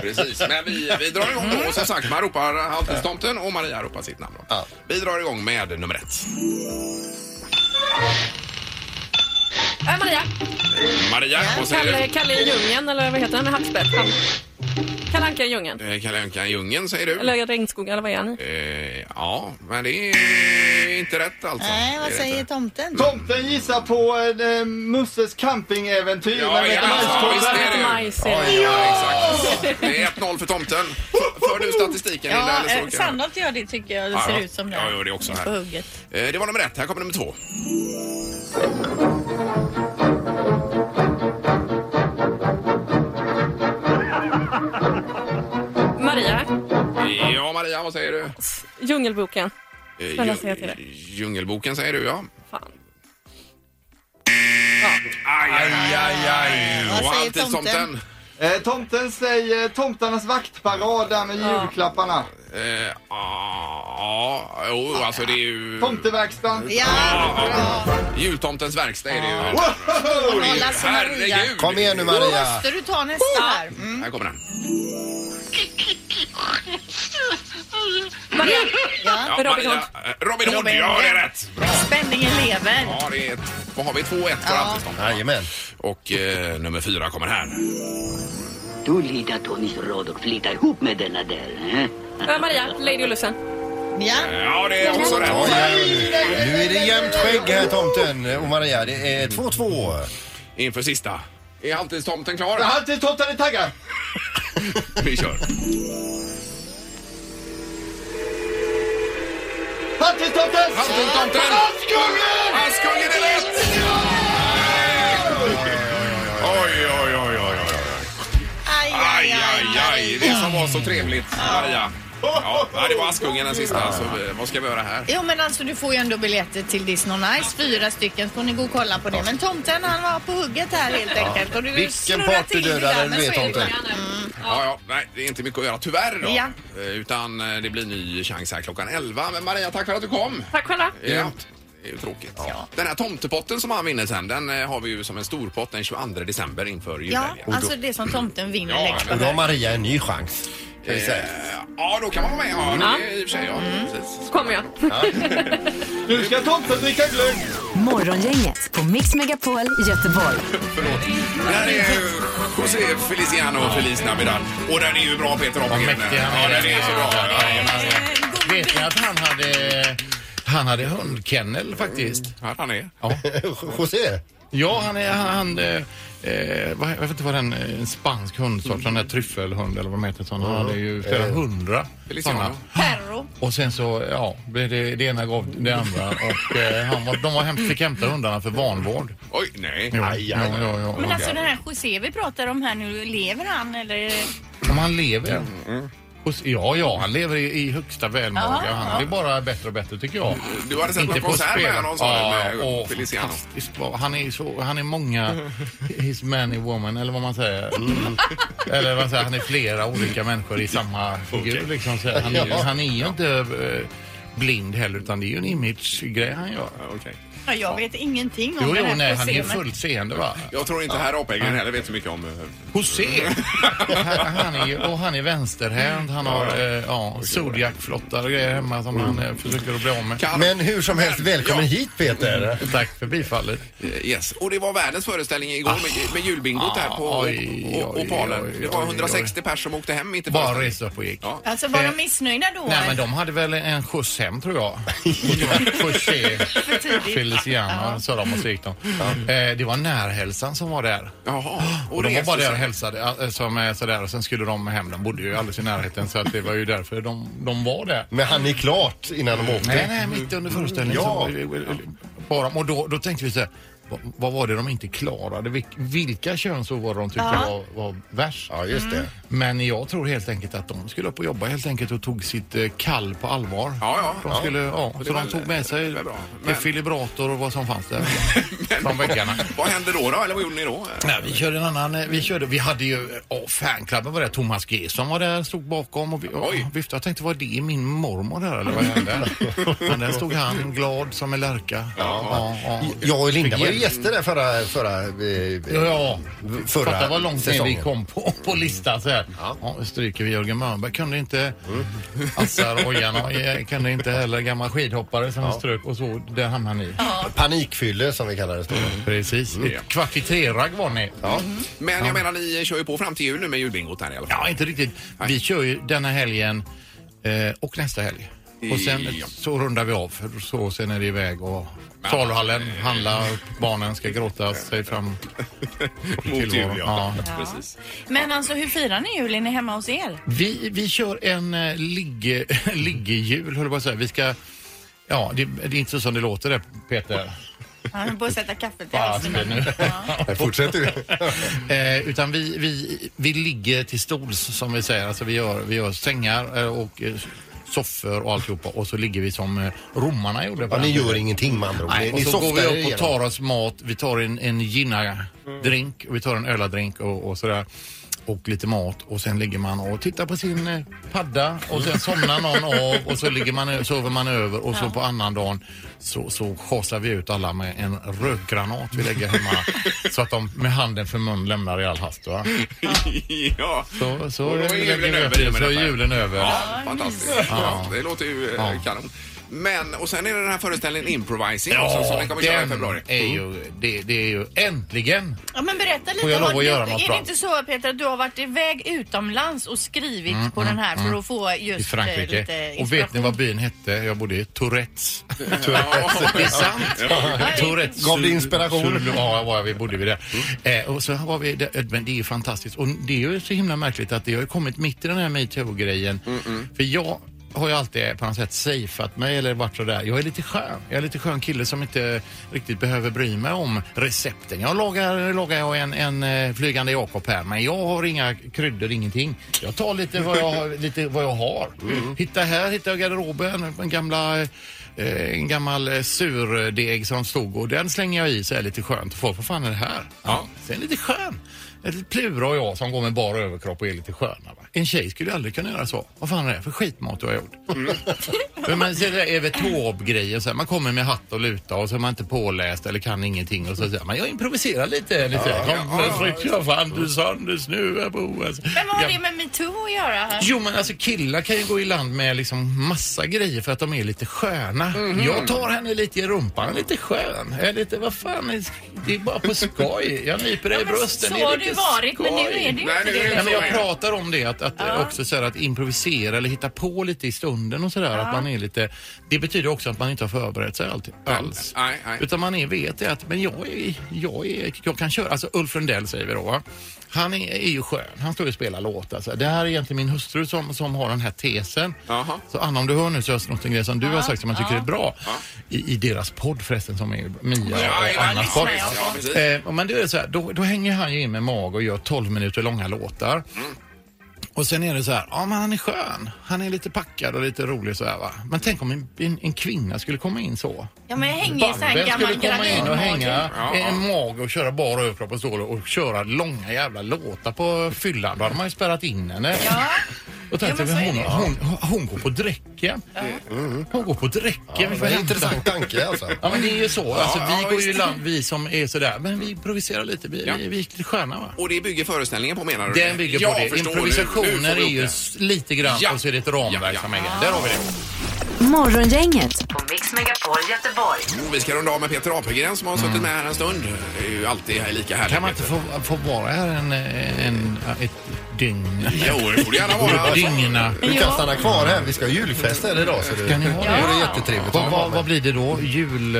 Speaker 1: precis. Men vi, vi drar igång då. Och som sagt, man ropar halvtidstomten och Maria ropar sitt namn. Då.
Speaker 2: Ja.
Speaker 1: Vi drar igång med nummer ett.
Speaker 10: Äh, Maria,
Speaker 1: Maria, vad
Speaker 10: Kalle,
Speaker 1: säger
Speaker 10: Kalle i djungeln, eller vad heter han? Med hackspett. Han. Kalle Anka i djungeln.
Speaker 1: du? Eh, Kalle Anka i djungeln, säger du.
Speaker 10: Eller regnskog, eller vad är han i?
Speaker 1: Eh, ja, men det är inte rätt alltså.
Speaker 3: Nej, vad
Speaker 1: Det är
Speaker 3: säger
Speaker 1: inte.
Speaker 3: tomten?
Speaker 5: Tomten gissar på eh, Musses campingäventyr.
Speaker 1: Ja,
Speaker 5: men
Speaker 1: ja,
Speaker 5: heter
Speaker 1: ja,
Speaker 5: Majskollen.
Speaker 1: visst är det.
Speaker 10: Lite majs i den.
Speaker 1: Ja, exakt. Det är 1-0 för tomten. För du statistiken, Linda?
Speaker 3: Ja,
Speaker 1: eller så
Speaker 3: eh,
Speaker 1: kan jag-
Speaker 3: Sandholt gör det tycker jag. Det
Speaker 1: Ja,
Speaker 3: ser
Speaker 1: ja.
Speaker 3: ut som det.
Speaker 1: Jag gör det också
Speaker 3: På
Speaker 1: här.
Speaker 3: hugget.
Speaker 1: Eh, Det var nummer ett. Här kommer nummer två.
Speaker 10: Maria,
Speaker 1: Ja, Maria, vad säger du?
Speaker 10: Djungelboken.
Speaker 1: Eh,
Speaker 10: Vad
Speaker 1: djung-
Speaker 10: säger jag till det?
Speaker 1: Djungelboken säger du, ja.
Speaker 10: Fan.
Speaker 1: Aj, aj, aj,
Speaker 3: Vad
Speaker 1: Och
Speaker 3: säger
Speaker 1: alltid tomten.
Speaker 3: tomten?
Speaker 5: Eh, tomten säger eh, Tomtarnas vaktparad där med julklapparna.
Speaker 1: Eh, Ja, jo, alltså det är ju...
Speaker 5: Tomteverkstan.
Speaker 3: Ja, bra.
Speaker 1: Jultomtens verkstad är det ju.
Speaker 5: Woho!
Speaker 1: Det är ju-
Speaker 3: Kolla så Maria.
Speaker 1: Herregud!
Speaker 2: Kom igen nu Maria!
Speaker 3: Måste du ta nästa här? Mm.
Speaker 1: Här kommer den.
Speaker 10: Maria,
Speaker 1: Ja,
Speaker 10: Robin
Speaker 1: Maria-
Speaker 10: Hood.
Speaker 1: eh, Robin Hood,
Speaker 3: Robin
Speaker 1: ja
Speaker 3: Hood.
Speaker 1: det är rätt! Bra.
Speaker 3: Spänningen lever.
Speaker 1: Ja, det är, vad har vi? 2-1 för ja. Antonsson.
Speaker 2: Jajamän.
Speaker 1: Och eh, nummer fyra kommer här. Eh,
Speaker 11: Du litar Tonys råd och flyttar ihop med denna där. Eh?
Speaker 10: äh, Maria, Lady och Lussen.
Speaker 3: Ja.
Speaker 1: Ja, det är också
Speaker 2: Oj,
Speaker 1: rätt.
Speaker 2: oj, oj. Nu är det jämnt skägg här tomten och Maria. Det är 2-2.
Speaker 1: Inför sista. Är alltid tomten klar?
Speaker 5: Han till tomten är taggad.
Speaker 1: Vi kör.
Speaker 5: Han till tomten!
Speaker 1: Halvtidstomten!
Speaker 5: Askungen!
Speaker 1: Askunge, det är rätt! Oj, oj, oj, oj, oj.
Speaker 3: Aj,
Speaker 1: Aj, aj, aj. Det som var så trevligt, Maria. Ja, nej, det var Askungen den sista. Så, eh, vad ska vi göra här?
Speaker 3: Jo men alltså du får ju ändå biljetter till Disney on Ice, fyra stycken får ni gå och kolla på det. Men tomten han var på hugget här helt enkelt. Och du
Speaker 2: Vilken
Speaker 3: snurrar
Speaker 2: part du
Speaker 3: till det
Speaker 2: dödade,
Speaker 3: där,
Speaker 2: du
Speaker 3: men
Speaker 2: vet,
Speaker 3: så är det
Speaker 2: tomten.
Speaker 3: ju.
Speaker 1: Ja, ja, nej, det är inte mycket att göra tyvärr då.
Speaker 3: Ja.
Speaker 1: Eh, Utan eh, det blir ny chans här klockan 11. Men Maria, tack för att du kom. Eh,
Speaker 10: Tack själva.
Speaker 1: Ja. Det är ju tråkigt. Den här tomtepotten som han vinner sen, den eh, har vi ju som en storpott den 22 december inför
Speaker 3: Ja,
Speaker 1: julhelgen.
Speaker 3: alltså det som tomten vinner
Speaker 1: Ja,
Speaker 3: läggs på
Speaker 2: Och då har
Speaker 3: hög.
Speaker 2: Maria en ny chans. Kan vi säga.
Speaker 1: Eh, Ja, då kan man vara med.
Speaker 3: Mm.
Speaker 1: Ja,
Speaker 10: Ja.
Speaker 1: det är i och för sig. Ja, precis.
Speaker 10: Kommer jag.
Speaker 5: Nu ska tomten dricka glögg.
Speaker 4: Morgongänget på Mix Megapol Göteborg.
Speaker 1: Det här är ju José Feliciano och Feliz Navidad. Och den är ju bra, Peter Apelgren.
Speaker 12: mäktig han är.
Speaker 1: Ja, den är så bra. Ja, jajamän.
Speaker 12: Vet ni att han hade, han hade hundkennel faktiskt?
Speaker 1: Här han är.
Speaker 2: José?
Speaker 12: Ja, han är... Han, han, eh, eh, vad- jag vet inte vad den... eh, En spansk hundsort, sån där tryffelhund eller vad de heter. Sån. Han hade ju flera hundra
Speaker 1: Feliciano.
Speaker 12: såna.
Speaker 3: Perro.
Speaker 12: Och sen så, ja, blev det, det ena gav det andra. Och eh, han var, de var hem, fick hämta hundarna för vanvård.
Speaker 1: Oj, nej.
Speaker 12: Jo,
Speaker 2: Aj, aj, aj.
Speaker 12: Ja, ja, ja.
Speaker 3: Men alltså den här José vi pratar om här nu, lever han eller?
Speaker 1: Mm,
Speaker 12: Om han lever. Hos, ja, ja, han lever i, i högsta välmåga.
Speaker 1: Ja,
Speaker 12: han
Speaker 1: ja.
Speaker 12: blir bara bättre och bättre tycker jag.
Speaker 1: Du hade sett någon
Speaker 12: på
Speaker 1: konsert med
Speaker 12: spel.
Speaker 1: honom, sa
Speaker 12: Ja,
Speaker 1: du, med
Speaker 12: och
Speaker 1: Feliciano.
Speaker 12: fantastiskt bra. Han är, så, han är många, his many woman eller vad man säger. eller vad man säger, han är flera olika människor i samma figur.
Speaker 13: Okej.
Speaker 12: Liksom, så här. han, är, ju-
Speaker 13: Ja.
Speaker 12: han är ju inte eh, blind heller utan det är ju en imagegrej han gör.
Speaker 3: Ja, jag vet ingenting om
Speaker 12: Jo,
Speaker 3: den
Speaker 12: jo,
Speaker 3: här
Speaker 12: nej, han är ju
Speaker 3: scenen.
Speaker 12: fullt seende va?
Speaker 1: Jag tror inte herr Apäggen heller vet så mycket om... eh,
Speaker 12: José! han, han är, ju- och han är vänsterhänt. Han har eh, ja, zodiacflottar och grejer hemma som han eh, försöker att bli av med.
Speaker 2: Men hur som helst, välkommen hit Peter.
Speaker 12: Tack för bifallet.
Speaker 1: eh, Yes. Och det var världens föreställning igår med, med julbingot
Speaker 12: Ah,
Speaker 1: här på
Speaker 12: oj,
Speaker 1: o-
Speaker 12: oj,
Speaker 1: Opalen.
Speaker 12: oj, oj,
Speaker 1: det var
Speaker 12: oj.
Speaker 1: 160 personer som åkte hem inte
Speaker 12: Bara reste upp och gick.
Speaker 1: Ja.
Speaker 3: Alltså var
Speaker 12: Eh,
Speaker 3: de missnöjda då?
Speaker 12: Nej, men de hade väl en skjuts hem tror jag. José
Speaker 3: För tidigt.
Speaker 12: Feliciano sa de och så gick de. Eh, Det var närhälsan som var där. Ah, Och, de var
Speaker 1: reste
Speaker 12: bara där
Speaker 1: sig.
Speaker 12: och hälsade eh, som eh, sådär och sen skulle de hem. De bodde ju alldeles i närheten så att det var ju därför de, de var där.
Speaker 2: Men han är klart innan de åkte?
Speaker 12: Nej, nej, mitt under föreställningen
Speaker 2: Ja.
Speaker 12: så var det- bara, och då, då tänkte vi så här, vad, vad var det de inte klarade? Vil, vilka könsord var det de tyckte
Speaker 13: Ja.
Speaker 12: var, var värst?
Speaker 2: Ja, just det. Mm.
Speaker 12: Men jag tror helt enkelt att de skulle upp och jobba helt enkelt och tog sitt eh, kall på allvar.
Speaker 1: Ja, ja.
Speaker 12: De skulle, ja,
Speaker 1: Det
Speaker 12: så
Speaker 1: var-
Speaker 12: de tog med sig
Speaker 1: det var bra.
Speaker 12: det filibrator och vad som fanns där från väggarna.
Speaker 1: Vad hände då, då? Eller vad gjorde ni då?
Speaker 12: Nej, vi körde en annan, eh, vi körde, vi hade ju, oh, fanklubben var där, Thomas G som var där, stod bakom och vi, oh, viftade. Jag tänkte, var det min mormor där eller vad hände? Men där stod han glad som en lärka. Ja, ja.
Speaker 2: Jag och Linda
Speaker 12: Fick
Speaker 2: var ju
Speaker 12: hjälp.
Speaker 2: gäster där förra, förra, eh,
Speaker 12: Mm. Ja, ja.
Speaker 2: förra
Speaker 12: Fatta vad långt ner vi
Speaker 2: säsongen.
Speaker 12: kom på, på listan så här. Ja. nu stryker vi Jörgen Mörnberg. Kunde inte Assar Ojan och eh, kunde inte heller gammal skidhoppare som vi strök och så där hamnade ni.
Speaker 2: Panikfylle som vi kallar det. Stå.
Speaker 12: Precis. Kvart i tre-ragg var ni.
Speaker 1: Men
Speaker 12: Ja.
Speaker 1: jag menar, ni kör ju på fram till jul nu med julbingot här i alla fall.
Speaker 12: Ja, inte riktigt. Vi kör ju denna helgen eh, och nästa helg. Och sen
Speaker 1: Ja.
Speaker 12: så rundar vi av. för Så sen är det iväg och saluhallen, handla, barnen ska gråta sig fram.
Speaker 1: Mot jul,
Speaker 12: tillvaron.
Speaker 1: ja.
Speaker 3: Ja. Men alltså hur firar ni julen hemma hos er?
Speaker 12: Vi, vi kör en eh, ligge- liggejul, höll jag på att säga. Vi ska... Ja, det, det är inte så som det låter det, Peter.
Speaker 3: Han borde sätta kaffet i halsen.
Speaker 12: Fasen nu.
Speaker 2: Fortsätter du?
Speaker 12: eh, utan vi, vi, vi ligger till stols, som vi säger. Alltså vi gör, vi gör sängar eh, och eh, soffor och alltihopa och så ligger vi som eh, romarna gjorde. på
Speaker 2: Ja, ni
Speaker 12: den tiden.
Speaker 2: gör ingenting med andra ord.
Speaker 12: Nej,
Speaker 2: Ni-
Speaker 12: och
Speaker 2: ni
Speaker 12: så går
Speaker 2: softar
Speaker 12: vi upp
Speaker 2: igenom.
Speaker 12: och tar oss mat. Vi tar en, en gina-drink och vi tar en öladrink och, och sådär. Och lite mat och sen ligger man och tittar på sin eh, padda och sen somnar någon av och så ligger man, ö- sover man över och så på annan dagen så, så schasar vi ut alla med en rökgranat vi lägger hemma så att de med handen för mun lämnar i all hast. Va?
Speaker 1: ja.
Speaker 12: Så, så
Speaker 1: Och då är
Speaker 12: lägger
Speaker 1: julen
Speaker 12: vi upp
Speaker 1: över i
Speaker 12: det,
Speaker 1: och med
Speaker 12: så är
Speaker 1: detta.
Speaker 12: julen över.
Speaker 1: Ja, fantastiskt. Ja.
Speaker 12: Ja.
Speaker 1: Det låter ju eh,
Speaker 12: Ja.
Speaker 1: kanon. Men, och sen är det den här föreställningen Improvising också som ni kommer köra i
Speaker 12: den
Speaker 1: februari. Mm.
Speaker 12: är ju, det, det är ju äntligen
Speaker 3: Ja, men berätta lite.
Speaker 12: Får jag lov
Speaker 3: har
Speaker 12: att
Speaker 3: du,
Speaker 12: göra något
Speaker 3: är det
Speaker 12: bra?
Speaker 3: inte så Peter att du har varit iväg utomlands och skrivit
Speaker 12: Mm,
Speaker 3: på
Speaker 12: mm,
Speaker 3: den här för
Speaker 12: mm.
Speaker 3: att få just
Speaker 12: i
Speaker 3: eh, lite
Speaker 12: Frankrike. Och vet ni
Speaker 3: inspiration?
Speaker 12: vad byn hette? Jag bodde i Tourettes.
Speaker 2: Tourettes.
Speaker 12: Det är sant.
Speaker 2: Ja.
Speaker 12: Tourettes.
Speaker 2: Gav det inspiration?
Speaker 12: Sulu- Ja, var vi bodde vi där. Eh, och så här var vi där. Men det är ju fantastiskt. Och det är ju så himla märkligt att det har ju kommit mitt i den här metoo-grejen. För jag har ju alltid på något sätt safeat mig eller varit sådär. Jag är lite skön. Jag är lite skön kille som inte riktigt behöver bry mig om recepten. Jag lagar, lagar jag en, en eh, flygande Jakob här men jag har inga kryddor, ingenting. Jag tar lite vad jag, har- lite vad jag har.
Speaker 13: Mm.
Speaker 12: Hitta här, hittar jag garderoben, en gamla eh, en gammal eh, surdeg som stod och den slänger jag i så är lite skönt. Folk, vad fan är det här? Ja. Sen lite skön. Ett litet Plura och jag som går med bara överkropp och är lite sköna. Va? En tjej skulle ju aldrig kunna göra så. Vad fan är det här för skitmat du har gjort?
Speaker 13: Mm.
Speaker 12: Men man ser det där Evert Taube-grejen. så här, Man kommer med hatt och luta och så är man inte påläst eller kan ingenting. Och så säger man, jag improviserar lite. lite.
Speaker 13: Ja,
Speaker 12: Kom,
Speaker 13: ja, ja,
Speaker 12: tryck, jag fan, du sand, du snuva på. Alltså.
Speaker 3: Men vad har
Speaker 12: Ja.
Speaker 3: det med metoo att göra? Här?
Speaker 12: Jo men alltså killar kan ju gå i land med liksom massa grejer för att de är lite sköna. Jag tar henne lite i rumpan, lite skön. Jag är lite, vad fan, är- det är bara på skoj. Jag nyper dig i
Speaker 13: Ja, men
Speaker 12: brösten.
Speaker 13: så
Speaker 12: det är
Speaker 13: har
Speaker 12: lite
Speaker 13: det varit,
Speaker 12: skoj.
Speaker 13: men nu är det ju inte
Speaker 12: Nej, nu är
Speaker 13: det.
Speaker 12: Nej, men jag
Speaker 13: Så är det.
Speaker 12: pratar om det, att, att också så här, att improvisera eller hitta på lite i stunden och sådär.
Speaker 13: Ja.
Speaker 12: Att man är lite, det betyder också att man inte har förberett sig alltid, alls.
Speaker 1: Nej, nej.
Speaker 12: Utan man är, vet det att men jag, är, jag, är, jag kan köra. Alltså Ulf Lundell säger vi då. Va? Han är, är ju skön. Han står ju och spelar låtar. så här. Det här är egentligen min hustru som, som har den här tesen. Så Anna, om du hör nu så har jag snott en grej som du har sagt som jag tycker är bra. I, I deras podd förresten som är Mia och Annas podd.
Speaker 13: ja, precis. Mm.
Speaker 12: Eh, men det är så här, då, då hänger han ju in med mag och gör 12 minuter långa låtar. Och sen är det så här, ja men han är skön. Han är lite packad och lite rolig så här va. Men tänk om en, en, en kvinna skulle komma in så.
Speaker 3: Ja, men jag hänger i sån här
Speaker 12: Babben skulle
Speaker 3: gammal
Speaker 12: komma in och
Speaker 3: granitmage.
Speaker 12: hänga
Speaker 3: Ja.
Speaker 12: i en mage och köra bara överkropp och stål och köra långa jävla låtar på fyllan. Då hade man ju spärrat in henne. Och tänkte,
Speaker 2: Ja, men så är
Speaker 12: hon,
Speaker 2: det.
Speaker 12: hon, hon, hon går på dräcke. Hon går på dräcke.
Speaker 2: Ja,
Speaker 12: Vi
Speaker 2: det
Speaker 12: får
Speaker 2: är en
Speaker 12: hämta-
Speaker 2: intressant tanke, alltså.
Speaker 12: Ja, men det är ju så. Alltså,
Speaker 1: Ja,
Speaker 12: vi
Speaker 1: ja,
Speaker 12: går ju i
Speaker 1: visst.
Speaker 12: land, vi som är sådär. Men vi improviserar lite. Vi, vi, vi är lite sköna va.
Speaker 1: Och det bygger föreställningen på menar du?
Speaker 12: Den bygger
Speaker 1: Ja,
Speaker 12: på det.
Speaker 1: förstår, nu- nu får
Speaker 12: Improvisationer
Speaker 1: vi
Speaker 12: är
Speaker 1: ihop
Speaker 12: ju
Speaker 1: det.
Speaker 12: s- lite grann
Speaker 1: Ja.
Speaker 12: och så är det ett ramverk som är grejen. Där har vi det.
Speaker 4: Morgongänget
Speaker 1: På Mix Megapol Göteborg. vi ska runda av med Peter Apelgren som har suttit med här en stund. Det är ju alltid här lika härligt.
Speaker 12: Kan man inte få, få vara här en, en, ett dygn?
Speaker 1: Jo, det borde gärna vara.
Speaker 12: Dygna.
Speaker 2: Du kan stanna kvar här. Vi ska ha julfest här idag. Så du...
Speaker 12: Ska ni ha
Speaker 2: det? är jättetrevligt.
Speaker 12: Vad, vad, vad blir det då?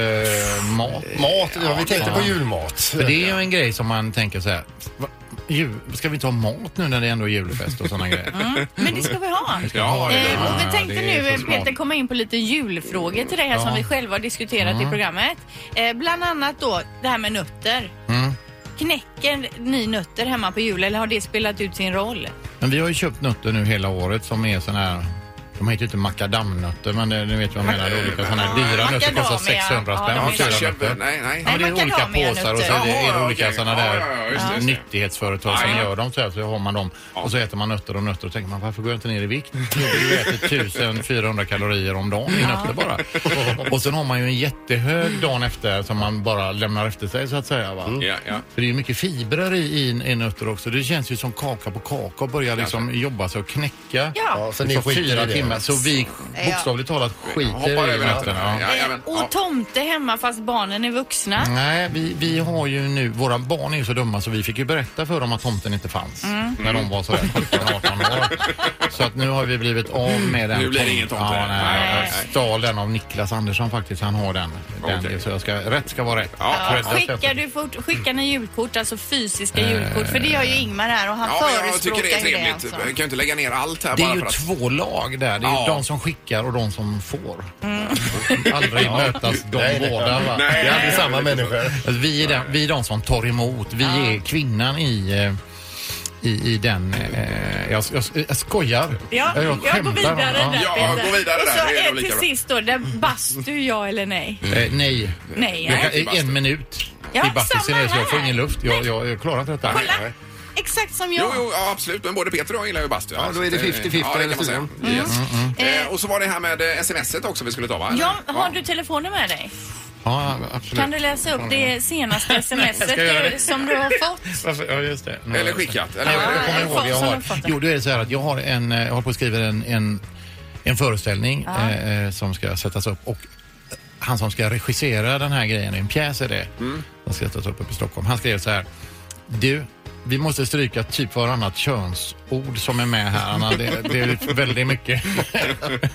Speaker 12: Julmat?
Speaker 2: Mat, ja, vi tänkte på julmat.
Speaker 12: För det är ju en grej som man tänker så här. va- Jul, ska vi inte ha mat nu när det ändå är julfest och sådana grejer?
Speaker 3: Mm, men det ska vi ha.
Speaker 12: Vi ska ha det.
Speaker 3: Eh, och
Speaker 12: Ja,
Speaker 3: vi tänkte
Speaker 12: det är
Speaker 3: nu,
Speaker 12: så smart.
Speaker 3: Peter, komma in på lite julfrågor till dig här
Speaker 12: Ja.
Speaker 3: som vi själva har diskuterat
Speaker 12: Mm.
Speaker 3: i programmet. Eh, bland annat då det här med nötter.
Speaker 12: Mm.
Speaker 3: Knäcker ni nötter hemma på jul eller har det spelat ut sin roll?
Speaker 12: Men vi har ju köpt nötter nu hela året som är såna här de heter ju inte makadamnötter, men eh, ni vet vad jag menar. Det är Olika sådana här dyra nötter kostar 600 spänn.
Speaker 1: Ja,
Speaker 12: för fyra
Speaker 1: kanske-
Speaker 12: nötter.
Speaker 1: nej, nej.
Speaker 12: Ja, men det är olika påsar och så är det, är det olika sådana där nyttighetsföretag som
Speaker 1: Ja, ja.
Speaker 12: gör dem så här. Så har man dem och så äter man nötter och nötter och tänker man varför går jag inte ner i vikt? Jo, du äter 1400 kalorier om dagen i nötter bara. Och sen har man ju en jättehög dagen efter som man bara lämnar efter sig så att säga. Va?
Speaker 1: Ja, ja.
Speaker 12: För det är ju mycket fibrer i, i, i nötter också. Det känns ju som kaka på kaka och börjar liksom jobba sig och knäcka.
Speaker 2: Ja, så ni
Speaker 12: Så
Speaker 2: skiter i
Speaker 12: fyra
Speaker 2: det.
Speaker 12: timmar. Så vi
Speaker 3: Ja.
Speaker 12: bokstavligt talat skiter
Speaker 1: Hoppar
Speaker 12: i
Speaker 1: över
Speaker 12: nötterna. Ja. Mm.
Speaker 3: Och tomte hemma fast barnen är vuxna.
Speaker 12: Nej, vi, vi har ju nu, våra barn är ju så dumma så vi fick ju berätta för dem att tomten inte fanns
Speaker 3: Mm.
Speaker 12: när de var sådär 17-18 år. Så att nu har vi blivit av med den.
Speaker 1: Nu blir det ingen tomte.
Speaker 12: Ja, nej,
Speaker 1: Nej, nej,
Speaker 12: Jag stal den av Niklas Andersson faktiskt. Han har den. den
Speaker 1: Okej.
Speaker 12: Så jag ska, rätt ska vara rätt.
Speaker 3: Ja, skickar, du fort, skickar ni julkort, alltså fysiska
Speaker 12: Eh.
Speaker 3: julkort? För det gör ju Ingmar här och han
Speaker 1: Ja, jag
Speaker 3: förespråkar
Speaker 1: tycker det är
Speaker 3: ju det.
Speaker 1: trevligt.
Speaker 3: Alltså.
Speaker 1: Jag kan ju inte lägga ner allt här
Speaker 12: Det
Speaker 1: bara
Speaker 12: är ju
Speaker 1: för att...
Speaker 12: två lag där. Det är
Speaker 1: Ja.
Speaker 12: ju de som skickar och de som får. Aldrig
Speaker 2: Mm. Ja.
Speaker 12: mötas de
Speaker 2: Nej, det-
Speaker 12: båda. Va?
Speaker 2: Nej, det är aldrig samma människor.
Speaker 12: Alltså, vi, är den, vi är de som tar emot. Vi är kvinnan i... eh, I, i den... Eh, jag, jag, jag skojar.
Speaker 3: Ja, jag, går
Speaker 12: skämtar.
Speaker 3: vidare
Speaker 12: Ja.
Speaker 3: där Peter. Och så
Speaker 12: Det är nog
Speaker 3: eh,
Speaker 12: lika
Speaker 3: till
Speaker 12: bra. Mm.
Speaker 3: sist då, det bastu ja eller nej?
Speaker 12: Eh, nej.
Speaker 3: Nej,
Speaker 12: Jag
Speaker 3: nej.
Speaker 12: kan, en- en minut
Speaker 3: Ja,
Speaker 12: i bastun,
Speaker 3: samma
Speaker 12: så jag får
Speaker 3: här.
Speaker 12: ingen luft. Jag, jag, jag klarar inte detta.
Speaker 3: Kolla. Exakt som jag.
Speaker 1: Jo, jo, ja, absolut. Men både Peter och jag gillar ju bastu. Ja,
Speaker 2: då är det 50-50
Speaker 1: Ja, det kan man säga.
Speaker 3: Mm.
Speaker 2: eller
Speaker 1: Yes.
Speaker 12: Mm,
Speaker 1: Eh, och så var det här med eh, smset också vi skulle ta, va? Eller?
Speaker 3: Ja, har du telefonen med dig?
Speaker 12: Ja, absolut.
Speaker 3: Kan du läsa upp det senaste
Speaker 12: jag ska göra det.
Speaker 3: smset som du har fått?
Speaker 12: Varför? Ja, just det.
Speaker 1: Eller skickat. Eller,
Speaker 12: Nej, jag kommer
Speaker 3: en
Speaker 12: ihåg. Jag
Speaker 3: sån
Speaker 12: har,
Speaker 3: uppfattning.
Speaker 12: jo, då är det så här att jag har en, eh, jag håller på att skriva en, en, en föreställning
Speaker 3: Ja.
Speaker 12: eh, eh, som ska sättas upp och han som ska regissera den här grejen, en pjäs är det,
Speaker 1: Mm.
Speaker 12: som ska sättas upp uppe i Stockholm. Han skrev så här. Du, vi måste stryka typ varannat könsord som är med här. Anna. Det, det är väldigt mycket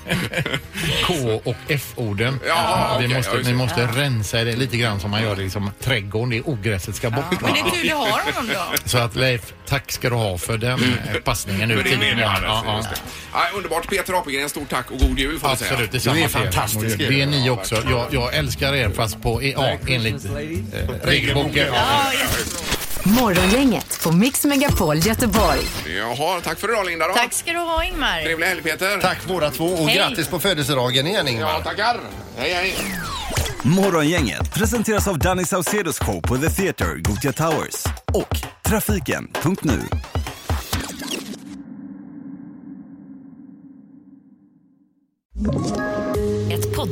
Speaker 12: K och F-orden.
Speaker 1: Ja,
Speaker 12: vi
Speaker 1: okej,
Speaker 12: måste,
Speaker 1: ja, just
Speaker 12: vi
Speaker 1: det.
Speaker 12: måste rensa det lite grann som man gör liksom, trädgården. Det är ogräset ska bort.
Speaker 3: Men det är tur du har honom då.
Speaker 12: Så att Leif, tack ska du ha för den eh, passningen nu.
Speaker 1: För din mening,
Speaker 12: Ja,
Speaker 1: Anders,
Speaker 12: ja,
Speaker 1: just
Speaker 12: ja.
Speaker 1: det. Nej, underbart. Peter Apelgren, stort tack och god jul får vi säga.
Speaker 12: Absolut, detsamma till er. Det är ni också. Jag, jag älskar er fast på, ja, enligt eh, regelboken.
Speaker 4: Morgongänget på Mix Megapol Göteborg.
Speaker 1: Jaha, tack för idag Linda då.
Speaker 3: Tack ska du ha Ingmar.
Speaker 1: Trevlig helg Peter.
Speaker 2: Tack båda två och
Speaker 3: Hej.
Speaker 2: grattis på födelsedagen igen Ingmar.
Speaker 1: Ja, tackar. Hej, hej.
Speaker 13: Morgongänget presenteras av Danny Saucedos show på The Theatre, Gothia Towers och Trafiken.nu.
Speaker 14: Ett